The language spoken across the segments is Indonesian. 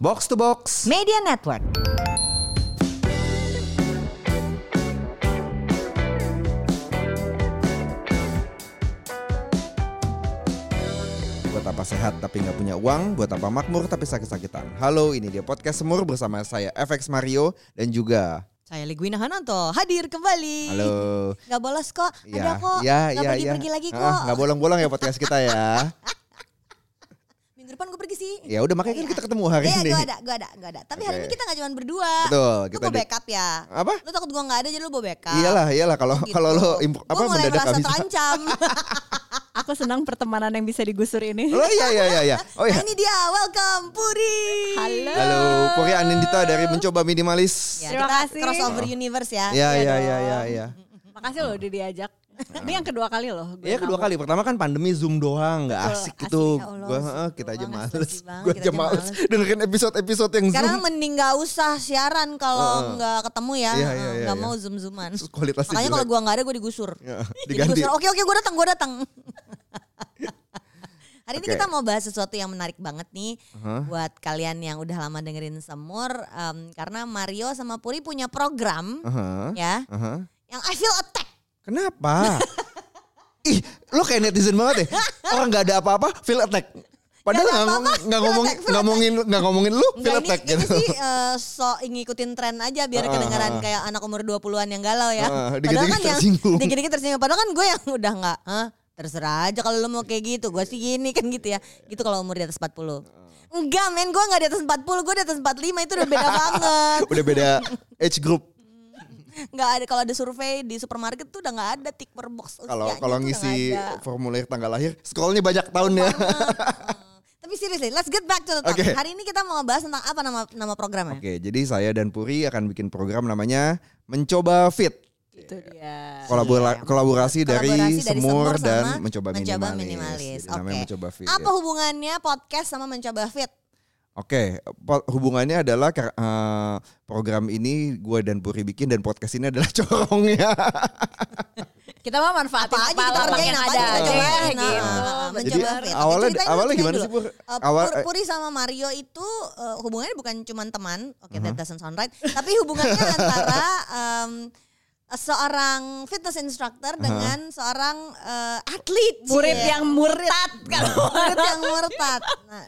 Box to Box. Media Network. Buat apa sehat tapi nggak punya uang, buat apa makmur tapi sakit-sakitan. Halo, ini dia podcast Semur bersama saya FX Mario dan juga Saya Leguina Hananto hadir kembali. halo. Gak bolos kok, Ya, ada kok. ya, Gak ya, pergi-pergi ya. lagi kok. Ah, nggak bolong-bolong ya podcast kita ya. Minggu depan gue pergi sih. Ya udah makanya kan kita ketemu hari Iya, ini. gue ada, gue ada, gue ada. Tapi hari Oke. ini kita gak cuma berdua. Betul, Lu kita bawa di- backup ya. Apa? Lu takut gue gak ada jadi lu bawa backup. Gitu. Iyalah, iyalah kalau kalau lo impro- apa gue mulai mendadak merasa habis. terancam. Aku senang pertemanan yang bisa digusur ini. Oh iya iya iya iya. Oh nah iya. ini dia, welcome Puri. Halo. Halo, Puri Anindita dari Mencoba Minimalis. Ya, Terima kita kasih. crossover universe ya. Ya ya Iya dong. ya ya ya. Makasih loh udah diajak. Nah. Ini yang kedua kali loh. gue Iya kedua nabung. kali. Pertama kan pandemi Zoom doang, nggak Betul, asik asik. gitu. Ya Allah, Gua Zoom heeh, kita aja doang, males. asik banget, Gua kita aja aja males males. dengerin episode-episode yang Zoom. Sekarang mending gak usah siaran kalau nggak ketemu ya. Iya, Heeh, iya, nggak iya, iya. mau zoom-zooman. Terus kualitasnya Makanya jelek. kalau gua nggak ada gue digusur. Ya, Jadi diganti. digusur. Oke oke gue datang, gue datang. Hari ini Oke. Uh-huh. kita mau bahas sesuatu yang menarik banget nih buat kalian yang udah lama dengerin semur em, karena Mario sama Puri punya program Aha, ya aha. yang I feel attack. Kenapa? Ih, lo kayak netizen banget ya. Orang nggak ada apa-apa, feel attack. Padahal Nggak nggak ada ngomong, apa-apa, nggak feel ngomong, attack, feel nggak ngomongin, nggak ngomongin lu, feel Enggak, attack ini, ini gitu. Ah, sih eh, so ngikutin tren aja biar Heeh, kedengaran heeh. kayak anak umur 20-an yang galau ya. Heeh, Padahal Ah, dikit-dikit kan yang tersinggung. dikit-dikit tersinggung. Padahal kan gue yang udah nggak, "Hah, terserah aja kalau lo mau kayak gitu. Gue sih gini kan gitu ya. Gitu kalau umur di atas 40. Enggak men, gue nggak di atas 40, gue di atas 45 itu udah beda banget. Udah beda age group. Nggak ada kalau ada survei di supermarket tuh udah nggak ada tick per box Kalau usianya kalau tuh udah ngisi nggak ada. formulir tanggal lahir, scrollnya banyak ya. tahunnya. Tapi seriously, let's get back to the topic. Oke. Hari ini kita mau bahas tentang apa nama nama programnya? Oke, jadi saya dan Puri akan bikin program namanya Mencoba Fit. Itu dia. Kolabora- Iya. kolaborasi, dari, Kolaborasi Semur sama dan Mencoba, Minimalis. Minimalis. Jadi namanya Oke. Mencoba Fit. ya. Apa hubungannya podcast sama mencoba fit? Oke, po- hubungannya adalah kar- eh, program ini gue dan Puri bikin dan podcast ini adalah corongnya. Kita mah manfaatin Apa aja kita kerjain apa aja aja kita cobain. gitu. Nah, Jadi mencoba fit. Oke, awalnya ceritain dulu, awalnya ceritain gimana dulu. sih Pur? Eh, Awal Pur- Puri sama Mario itu eh, hubungannya bukan cuma teman, oke Mm-hmm. that doesn't sound right, tapi hubungannya antara em, seorang fitness instructor dengan seorang eh, atlet. Murid Cie. yang murtad Nah. kan. kalau murid yang murtad. Nah,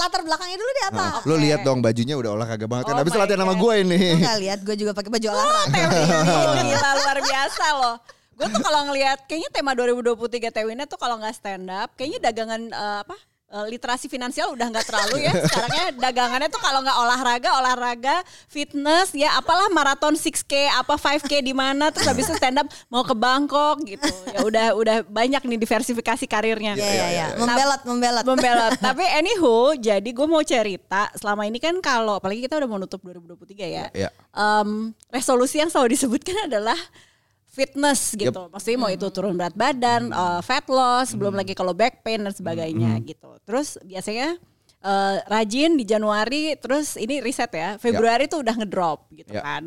latar belakangnya dulu deh apa? Lo lihat dong bajunya udah olahraga banget kan. Oh Habis my latihan sama God. gue ini. Lu nggak lihat gue juga pakai baju olahraga. ya, Gila luar biasa loh. Gue tuh kalau ngelihat kayaknya tema 2023 Tewinnya tuh kalau nggak stand up, kayaknya dagangan eh, apa? eh, literasi finansial udah nggak terlalu ya sekarangnya dagangannya tuh kalau nggak olahraga olahraga fitness ya apalah maraton 6k apa 5k di mana terus habis itu stand up mau ke Bangkok gitu ya udah udah banyak nih diversifikasi karirnya Iya iya iya. Nah, Membelot membelot. membelot. Tapi anywho, jadi gue mau cerita selama ini kan kalau apalagi kita udah mau nutup 2023 ya. Iya. Em, resolusi yang selalu disebutkan adalah fitness gitu. Maksudnya mau itu turun berat badan, eh, fat loss, belum lagi kalau back pain dan sebagainya gitu. Terus biasanya eh, rajin di Januari, terus ini riset ya. Iya. Februari tuh udah ngedrop gitu Yap. kan.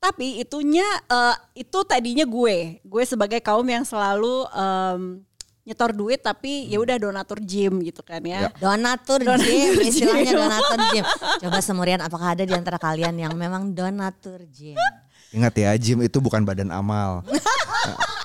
Tapi itunya eh, itu tadinya gue, gue sebagai kaum yang selalu em, nyetor duit tapi ya udah donatur gym gitu kan ya. Donatur gym, Donatur gym. istilahnya donatur gym. Coba semurian apakah ada di antara kalian yang memang donatur gym? Ingat ya, gym itu bukan badan amal.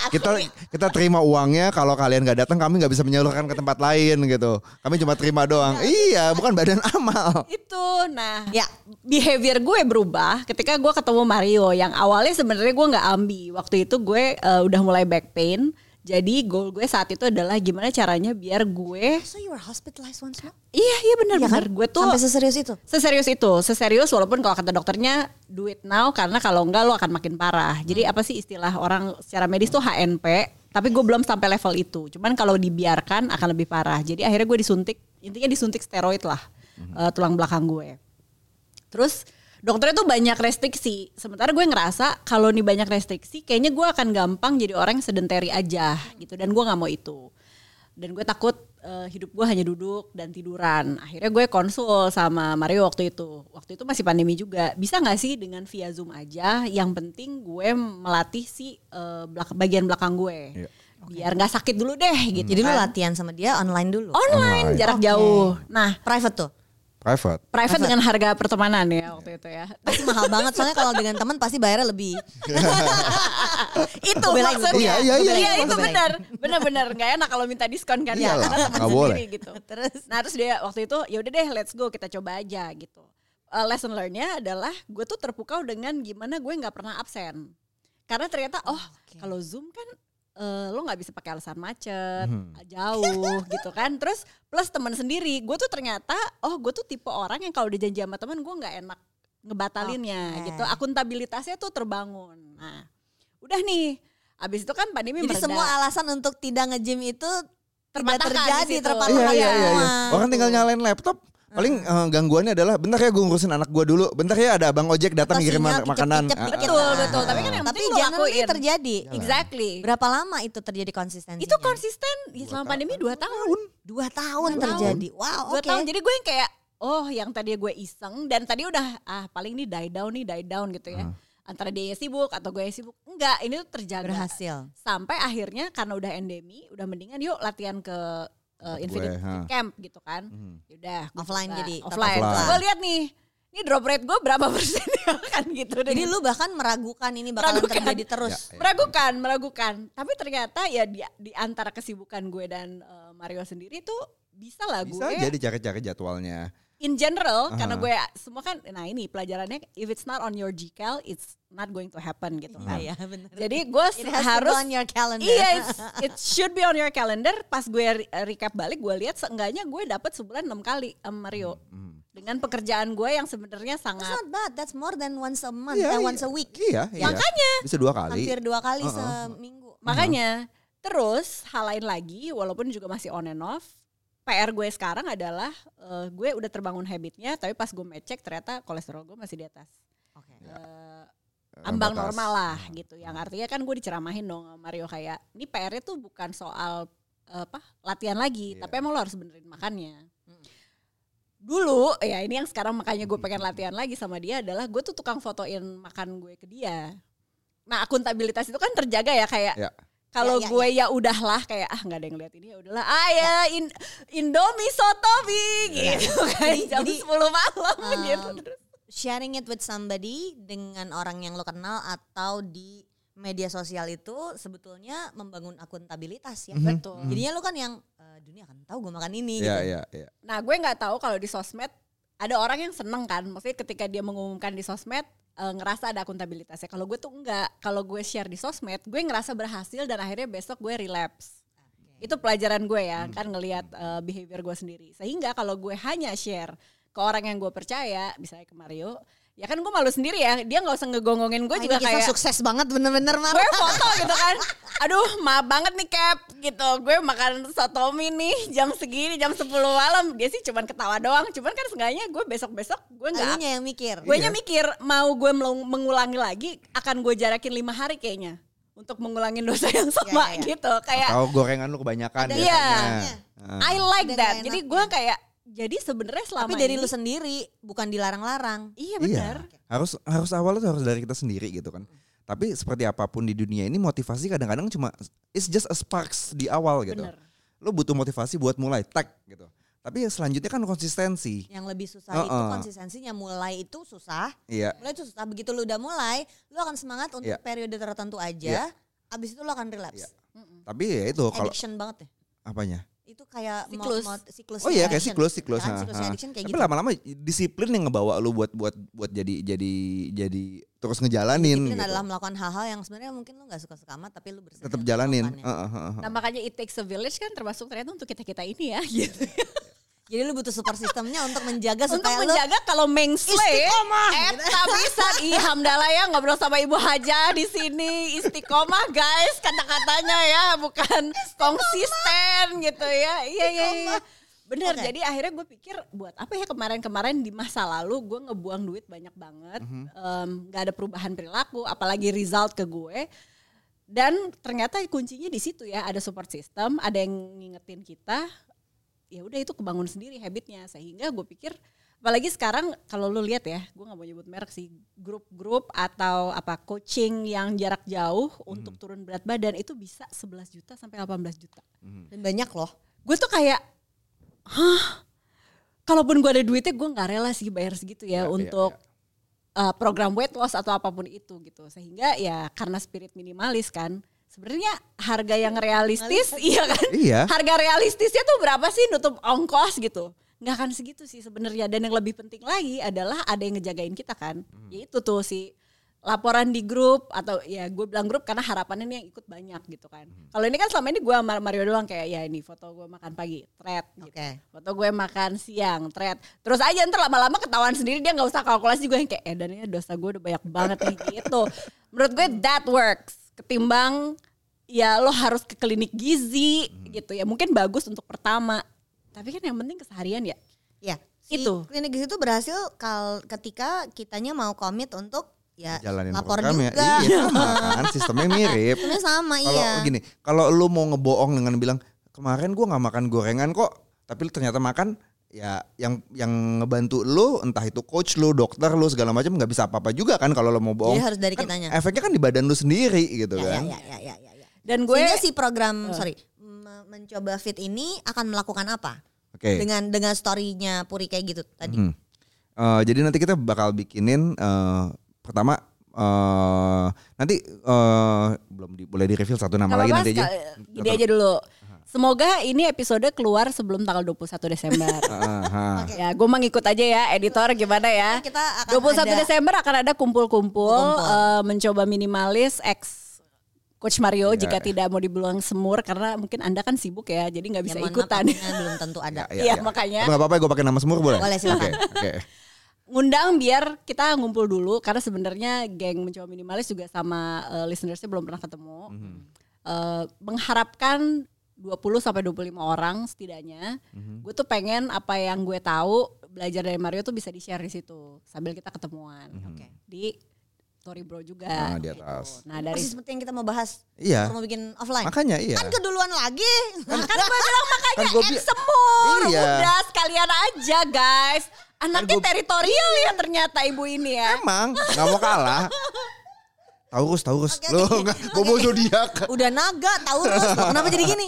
kita kita terima uangnya kalau kalian nggak datang kami nggak bisa menyalurkan ke tempat lain gitu. Kami cuma terima doang. Iya, bukan badan amal. Itu nah Ya. behavior gue berubah ketika gue ketemu Mario yang awalnya sebenarnya gue nggak ambi waktu itu gue eh, udah mulai back pain jadi goal gue saat itu adalah gimana caranya biar gue So you were hospitalized once more? iya iya Iya benar-benar kan? gue tuh Sampai seserius itu? Seserius itu, seserius walaupun kalau kata dokternya do it now karena kalau enggak lo akan makin parah. Jadi apa sih istilah orang secara medis tuh HNP, tapi gue belum sampai level itu. Cuman kalau dibiarkan akan lebih parah. Jadi akhirnya gue disuntik, intinya disuntik steroid lah eh, tulang belakang gue. Terus dokternya tuh banyak restriksi. Sementara gue ngerasa kalau nih banyak restriksi, kayaknya gue akan gampang jadi orang yang sedentary aja gitu. Dan gue nggak mau itu. Dan gue takut eh, hidup gue hanya duduk dan tiduran. Akhirnya gue konsul sama Mario waktu itu. Waktu itu masih pandemi juga. Bisa nggak sih dengan via zoom aja? Yang penting gue melatih si eh, belak- bagian belakang gue. Iya. Biar nggak sakit Iya dulu deh gitu. Jadi lu kan. latihan sama dia Hmm. online dulu? online, jarak jauh. Nah Private tuh? private. Private dengan harga pertemanan ya waktu itu ya. Pasti mahal banget soalnya kalau dengan teman pasti bayarnya lebih. itu Belain, maksudnya. Iya, iya, iya. itu benar. Benar-benar nggak enak kalau minta diskon kan ya. Iyalah, Karena Iya teman nggak sendiri boleh. gitu. Terus nah terus dia waktu itu ya udah deh let's go kita coba aja gitu. Eh, lesson learn-nya adalah gue tuh terpukau dengan gimana gue nggak pernah absen. Karena ternyata oh kalau Zoom kan eh, lo nggak bisa pakai alasan macet, Hmm. jauh gitu kan. Terus plus teman sendiri, gue tuh ternyata oh gue tuh tipe orang yang kalau udah janji sama teman gue nggak enak ngebatalinnya Oke. gitu. Akuntabilitasnya tuh terbangun. Nah, udah nih. Abis itu kan pandemi Jadi mereda. semua alasan untuk tidak nge-gym itu tidak Terbatahkan di terjadi situ. terpatahkan Iya iya iya. iya. semua. Orang tinggal nyalain laptop. Paling eh, gangguannya adalah bentar ya gue ngurusin anak gue dulu. Bentar ya ada abang ojek datang Atau ngirim sinyal mak- makanan. dikit-dikit, Ah, dikit. betul, Nah. betul. Tapi kan yang Tapi penting lo jangan lakuin. terjadi. iya. Exactly. Berapa lama itu terjadi konsistensinya? Itu konsisten ya, selama pandemi dua tahun. dua tahun Dua terjadi. Wow, Dua oke. tahun. Jadi gue yang kayak oh yang tadi gue iseng dan tadi udah ah paling ini die down nih die down gitu ya. Antara dia yang sibuk atau gue yang sibuk. Enggak, ini tuh terjaga. Berhasil. Sampai akhirnya karena udah endemi, udah mendingan yuk latihan ke uh, Infinite gue, ha. Hmm. Camp gitu kan. Yaudah. gue Offline coba. jadi, tetap Offline. offline. Gue lihat nih, ini drop rate gue berapa persen ya kan gitu. Jadi lu bahkan meragukan ini bakalan Meragukan. terjadi terus. Ya. meragukan, meragukan. Tapi ternyata ya di, di antara kesibukan gue dan eh, Mario sendiri tuh bisa lah Bisa gue jadi cari-cari jadwalnya. in general Aha. karena gue semua kan nah ini pelajarannya if it's not on your GCal it's not going to happen gitu kan. Nah. Iya, benar. Jadi gue It has to harus go on your calendar. Iya, it's- it should be on your calendar. Pas gue re- recap balik, gue lihat seenggaknya gue dapat sebulan 6 kali sama Mario. Hmm. Dengan pekerjaan gue yang sebenarnya That's sangat not bad. That's more than once a month, Iya, than iya. once a week. Iya, iya. Makanya. Bisa dua kali. Hampir dua kali Uh-uh. seminggu. Makanya terus hal lain lagi walaupun juga masih on and off PR gue sekarang adalah eh, gue udah terbangun habitnya tapi pas gue mecek ternyata kolesterol gue masih di atas Oke. Eh, ambang Batas. normal lah gitu yang artinya kan gue diceramahin dong sama Mario kayak ini PR-nya tuh bukan soal eh, apa latihan lagi Iya. tapi emang lo harus benerin makannya Mm. dulu ya ini yang sekarang makanya gue pengen latihan lagi sama dia adalah gue tuh tukang fotoin makan gue ke dia nah akuntabilitas itu kan terjaga ya kayak Ya. kalau Ya, ya, gue ya udahlah kayak ah nggak ada yang lihat ini ya udahlah ah ya in- Indomie sotobi gitu kan Ya. Jadi- jam jadi, 10 malam um, gitu terus Sharing it with somebody dengan orang yang lo kenal atau di media sosial itu sebetulnya membangun akuntabilitas ya. Betul. Mhm. Jadinya lo kan yang eh, dunia akan tahu gue makan Iya, ini gitu. iya, iya. nah gue nggak tahu kalau di sosmed ada orang yang seneng kan maksudnya ketika dia mengumumkan di sosmed eh, ngerasa ada akuntabilitasnya kalau gue tuh enggak kalau gue share di sosmed gue ngerasa berhasil dan akhirnya besok gue relapse itu pelajaran gue ya kan ngelihat eh, behavior gue sendiri sehingga kalau gue hanya share ke orang yang gue percaya misalnya ke Mario ya kan gue malu sendiri ya dia nggak usah ngegonggongin Wah, gue ini juga kisah Iya, kayak sukses banget bener-bener Mar. gue foto gitu kan aduh maaf banget nih cap gitu gue makan sotomi nih jam segini jam 10 malam dia sih cuman ketawa doang cuman kan seenggaknya gue besok besok gue nggak Elunya yang mikir. gue nya mikir mau gue melung- mengulangi lagi akan gue jarakin lima hari kayaknya untuk mengulangi dosa yang sama Iya, iya. gitu kayak Tahu gorengan lu kebanyakan Ada- biasanya. Ah. Iya. Heeh. I like Ada that nggak jadi gue kayak jadi sebenarnya selama Tapi dari ini- lu Gitu. sendiri bukan dilarang-larang. Iya. iya benar Harus harus awalnya tuh harus dari kita sendiri gitu kan. Tapi seperti apapun di dunia ini motivasi kadang-kadang cuma it's just a sparks di awal gitu. Bener. Lo butuh motivasi buat mulai tek gitu. Tapi yang selanjutnya kan konsistensi. Yang lebih susah itu Uh-uh. konsistensinya mulai itu susah. Iya. Mulai itu susah. Begitu lu udah mulai, lu akan semangat untuk Iya. periode tertentu aja. Abis itu lu akan relapse. Iya. Tapi ya itu kalau Addiction banget ya. apanya? Itu kayak mau- Siklus. mau- siklus. Oh iya kayak addiction. siklus siklus. Kan, ha, siklus ha. addiction kayak Tapi gitu. lama-lama disiplin yang ngebawa lu buat buat buat jadi jadi jadi terus ngejalanin. Disiplin gitu. adalah melakukan hal-hal yang sebenarnya mungkin lu gak suka-suka amat tapi lu ya. bersedia. Tetap jalanin. melakukannya. Heeh, heeh, heeh. nah makanya it takes a village kan termasuk ternyata untuk kita kita ini ya gitu Jadi lu butuh support sistemnya untuk menjaga untuk supaya lu menjaga kalau mengsle eta bisa Ih, Hamdallah ya ngobrol sama Ibu Haja di sini istiqomah guys kata-katanya ya bukan konsisten gitu ya iya iya iya bener Oke. jadi akhirnya gue pikir buat apa ya kemarin-kemarin di masa lalu gue ngebuang duit banyak banget Em, nggak ada perubahan perilaku apalagi result ke gue dan ternyata kuncinya di situ ya ada support system ada yang ngingetin kita ya udah itu kebangun sendiri habitnya sehingga gue pikir apalagi sekarang kalau lu lihat ya gue nggak mau nyebut merek sih grup-grup atau apa coaching yang jarak jauh untuk turun berat badan itu bisa 11 Hmm. ya juta sampai 18 juta Dan banyak loh. gue tuh kayak hah kalaupun gue ada duitnya gue nggak rela sih bayar segitu Iya, iya, ya, untuk uh, program weight loss atau apapun itu gitu sehingga ya karena spirit minimalis kan sebenarnya harga yang realistis iya kan Iya. harga realistisnya tuh berapa sih nutup ongkos gitu nggak akan segitu sih sebenarnya dan yang lebih penting lagi adalah ada yang ngejagain kita kan yaitu tuh si laporan di grup atau ya gue bilang grup karena harapannya nih yang ikut banyak gitu kan kalau ini kan selama ini gue sama Mario doang kayak ya ini foto gue makan pagi thread gitu Oke. foto gue makan siang thread terus aja ntar lama-lama ketahuan sendiri dia nggak usah kalkulasi gue yang kayak eh dan ini dosa gue udah banyak banget nih gitu menurut gue that works ketimbang ya lo harus ke klinik gizi gitu ya mungkin bagus untuk pertama tapi kan yang penting keseharian ya Ya, Itu. klinik gizi itu berhasil kal ketika kitanya mau komit untuk ya Jalanin lapor program juga. ya. Iya sama kan sistemnya mirip. Sebenarnya sama Kalau gitu iya. gini, kalau lu mau ngebohong dengan bilang kemarin gua nggak makan gorengan kok, tapi lu ternyata makan ya yang yang ngebantu lu entah itu coach lu, dokter lu segala macam nggak bisa apa-apa juga kan kalau lu mau bohong. Jadi Iya, harus dari Kan kitanya. Efeknya kan di badan lu sendiri gitu ya, kan. ya, ya, ya, ya, ya. dan gue Sehingga si program sorry me- mencoba fit ini akan melakukan apa Oke. dengan dengan storynya Puri kayak gitu tadi. Hmm. Eh, jadi nanti kita bakal bikinin eh, pertama eh nanti eh belum di, boleh di reveal satu nama Gak lagi apa-apa, nanti aja. eh, sekal- Gini aja dulu. Semoga ini episode keluar sebelum tanggal 21 Desember. Ah, ah. Oke. Ya, gue mah ngikut aja ya, editor gimana ya. Hmm. Kita akan 21 ada- Desember akan ada kumpul-kumpul Kumpul. eh, mencoba minimalis X Coach Mario Iya. jika tidak mau dibilang semur karena mungkin anda kan sibuk ya, jadi nggak bisa Ya, mohon maaf, ikutan. waktunya belum tentu ada. Ya, Iya, ya. makanya. Tapi nggak apa-apa gue pakai nama semur boleh? Boleh, silakan. Oke, oke. Ngundang biar kita ngumpul dulu karena sebenarnya geng mencoba minimalis juga sama eh, listenersnya belum pernah ketemu. Mhm, eh mengharapkan 20 sampai 25 orang setidaknya. mhm. Gue tuh pengen apa yang gue tahu belajar dari Mario tuh bisa di-share di situ sambil kita ketemuan. Oke. di Story Bro juga. Mhm. Ah, di gitu. atas. Nah, dari Persis seperti yang kita mau bahas Iya. kalau mau bikin offline. Makanya iya. Kan keduluan lagi. kan gue bilang makanya Kan gua X bi- semur. Iya. Kan Udah sekalian aja, guys. Anaknya gua- teritorial ya ternyata ibu ini ya. Emang nggak mau kalah. Taurus, Taurus. Oke, Lo oke. nggak gue mau zodiak. udah naga Taurus loh. kenapa jadi gini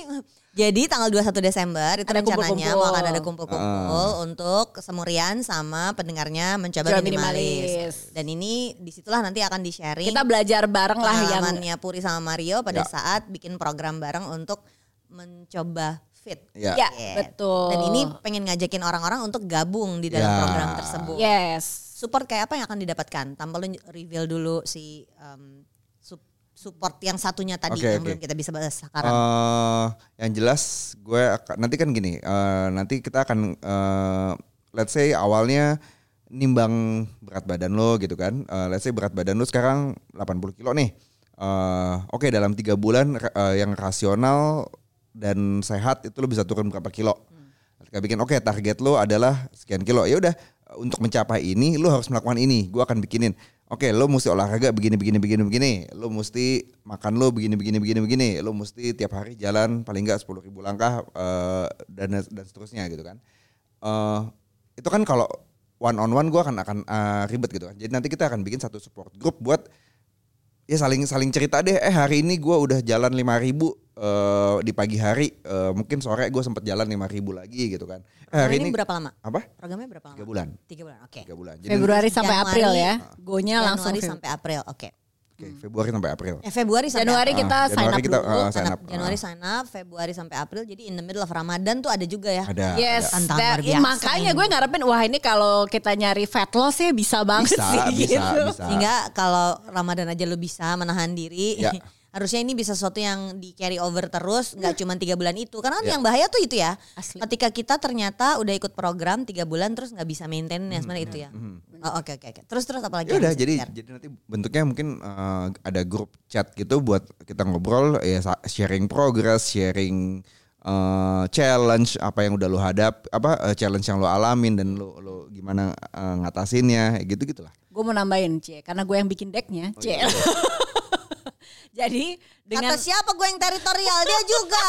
jadi tanggal 21 Desember itu Ada rencananya kumpul-kumpul. mau akan ada kumpul-kumpul Ah. untuk semurian sama pendengarnya mencoba Mencoba minimalis. minimalis. dan ini disitulah nanti akan di sharing Kita belajar bareng lah yang pengalamannya Puri sama Mario pada Ya. saat bikin program bareng untuk mencoba fit Ya. Ya, Diet. betul. dan ini pengen ngajakin orang-orang untuk gabung di dalam Ya. program tersebut Yes. support kayak apa yang akan didapatkan? Tanpa lu reveal dulu si um, sup- support yang satunya tadi Oke, oke. yang belum kita bisa bahas sekarang. Eh, yang jelas gue akan- nanti kan gini, eh, nanti kita akan eh, let's say awalnya nimbang berat badan lo gitu kan. Eh, let's say berat badan lo sekarang 80 kilo nih. Eh, Oke dalam tiga bulan ra- eh, yang rasional dan sehat itu lo bisa turun berapa kilo. Hmm. Kita bikin oke target lo adalah sekian kilo. Ya udah untuk mencapai ini lo harus melakukan ini. Gue akan bikinin. Oke, lo mesti olahraga begini begini begini begini. Lo mesti makan lo begini begini begini begini. Lo mesti tiap hari jalan paling enggak 10.000 langkah eh, dan dan seterusnya gitu kan. Eh, itu kan kalau one on one gue akan akan eh, ribet gitu kan. Jadi nanti kita akan bikin satu support group buat ya saling saling cerita deh eh hari ini gua udah jalan 5000 ribu di pagi hari Eh, mungkin sore gue sempet jalan 5000 lagi gitu kan eh, hari ini, berapa lama? apa Programnya berapa lama? tiga bulan Tiga bulan, oke. tiga bulan jadi Februari sampai Januari- April ya. Gonya Januari langsung Feb- sampai April, oke. oke, Februari sampai April Eh Februari sampai Januari April. kita Ah, sign Januari up kita, dulu. ah, sign up. Januari sign up, Februari sampai April. Jadi in the middle of Ramadan tuh ada juga ya. Ah, ada Yes, ada. Tantangan that- luar biasa makanya ini. gue ngarepin wah ini kalau kita nyari fat loss ya bisa banget bisa sih bisa gitu. bisa Sehingga kalau Ramadan aja lu bisa menahan diri, Ya. harusnya ini bisa sesuatu yang di carry over terus, nggak cuma tiga bulan itu. Karena kan Ya. yang bahaya tuh itu ya. Asli. Ketika kita ternyata udah ikut program tiga bulan terus nggak bisa maintain Hmm, ya sebenarnya itu ya. Oh, Oke oke oke. Terus terus apalagi? ya yang udah bisa jadi di-share? jadi nanti bentuknya mungkin eh, ada grup chat gitu buat kita ngobrol ya sa- sharing progress sharing eh, challenge apa yang udah lo hadap apa eh, challenge yang lo alamin dan lo lo gimana eh, ngatasinnya gitu gitulah Gue mau nambahin C karena gue yang bikin decknya Oh, C. iya, Jadi dengan Kata siapa gue yang teritorial dia juga.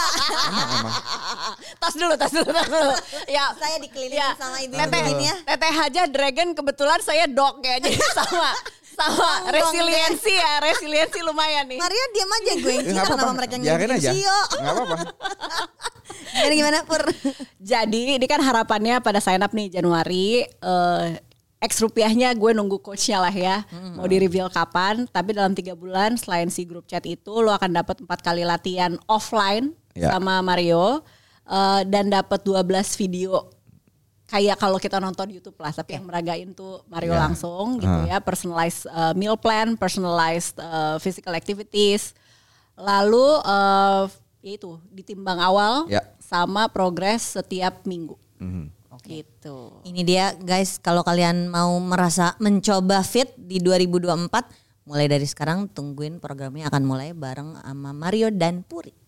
tas dulu, tas dulu, tas dulu. ya, Saya dikelilingi ya. sama ibu teteh, begini ya. teteh aja dragon kebetulan saya dok ya jadi sama sama Sombong resiliensi ya resiliensi lumayan nih. Maria diam aja gue Iya, yang Ya, nggak cerita apa-apa. nama mereka yang Biarin ngikutin aja. Sio. Nggak apa-apa. Jadi gimana Pur? Jadi ini kan harapannya pada sign up nih Januari eh X rupiahnya gue nunggu coachnya lah ya Hmm. Mau di reveal kapan Tapi dalam tiga bulan selain si grup chat itu Lo akan dapat empat kali latihan offline Ya. Sama Mario eh, Dan dapat 12 video Kayak kalau kita nonton Youtube lah Tapi yang meragain tuh Mario Ya. langsung gitu ya Personalized eh, meal plan Personalized eh, physical activities Lalu eh, ya itu ditimbang awal Ya. sama progres setiap minggu. Mhm. Gitu. Ini dia guys, kalau kalian mau merasa mencoba fit di 2024, mulai dari sekarang tungguin programnya akan mulai bareng sama Mario dan Puri.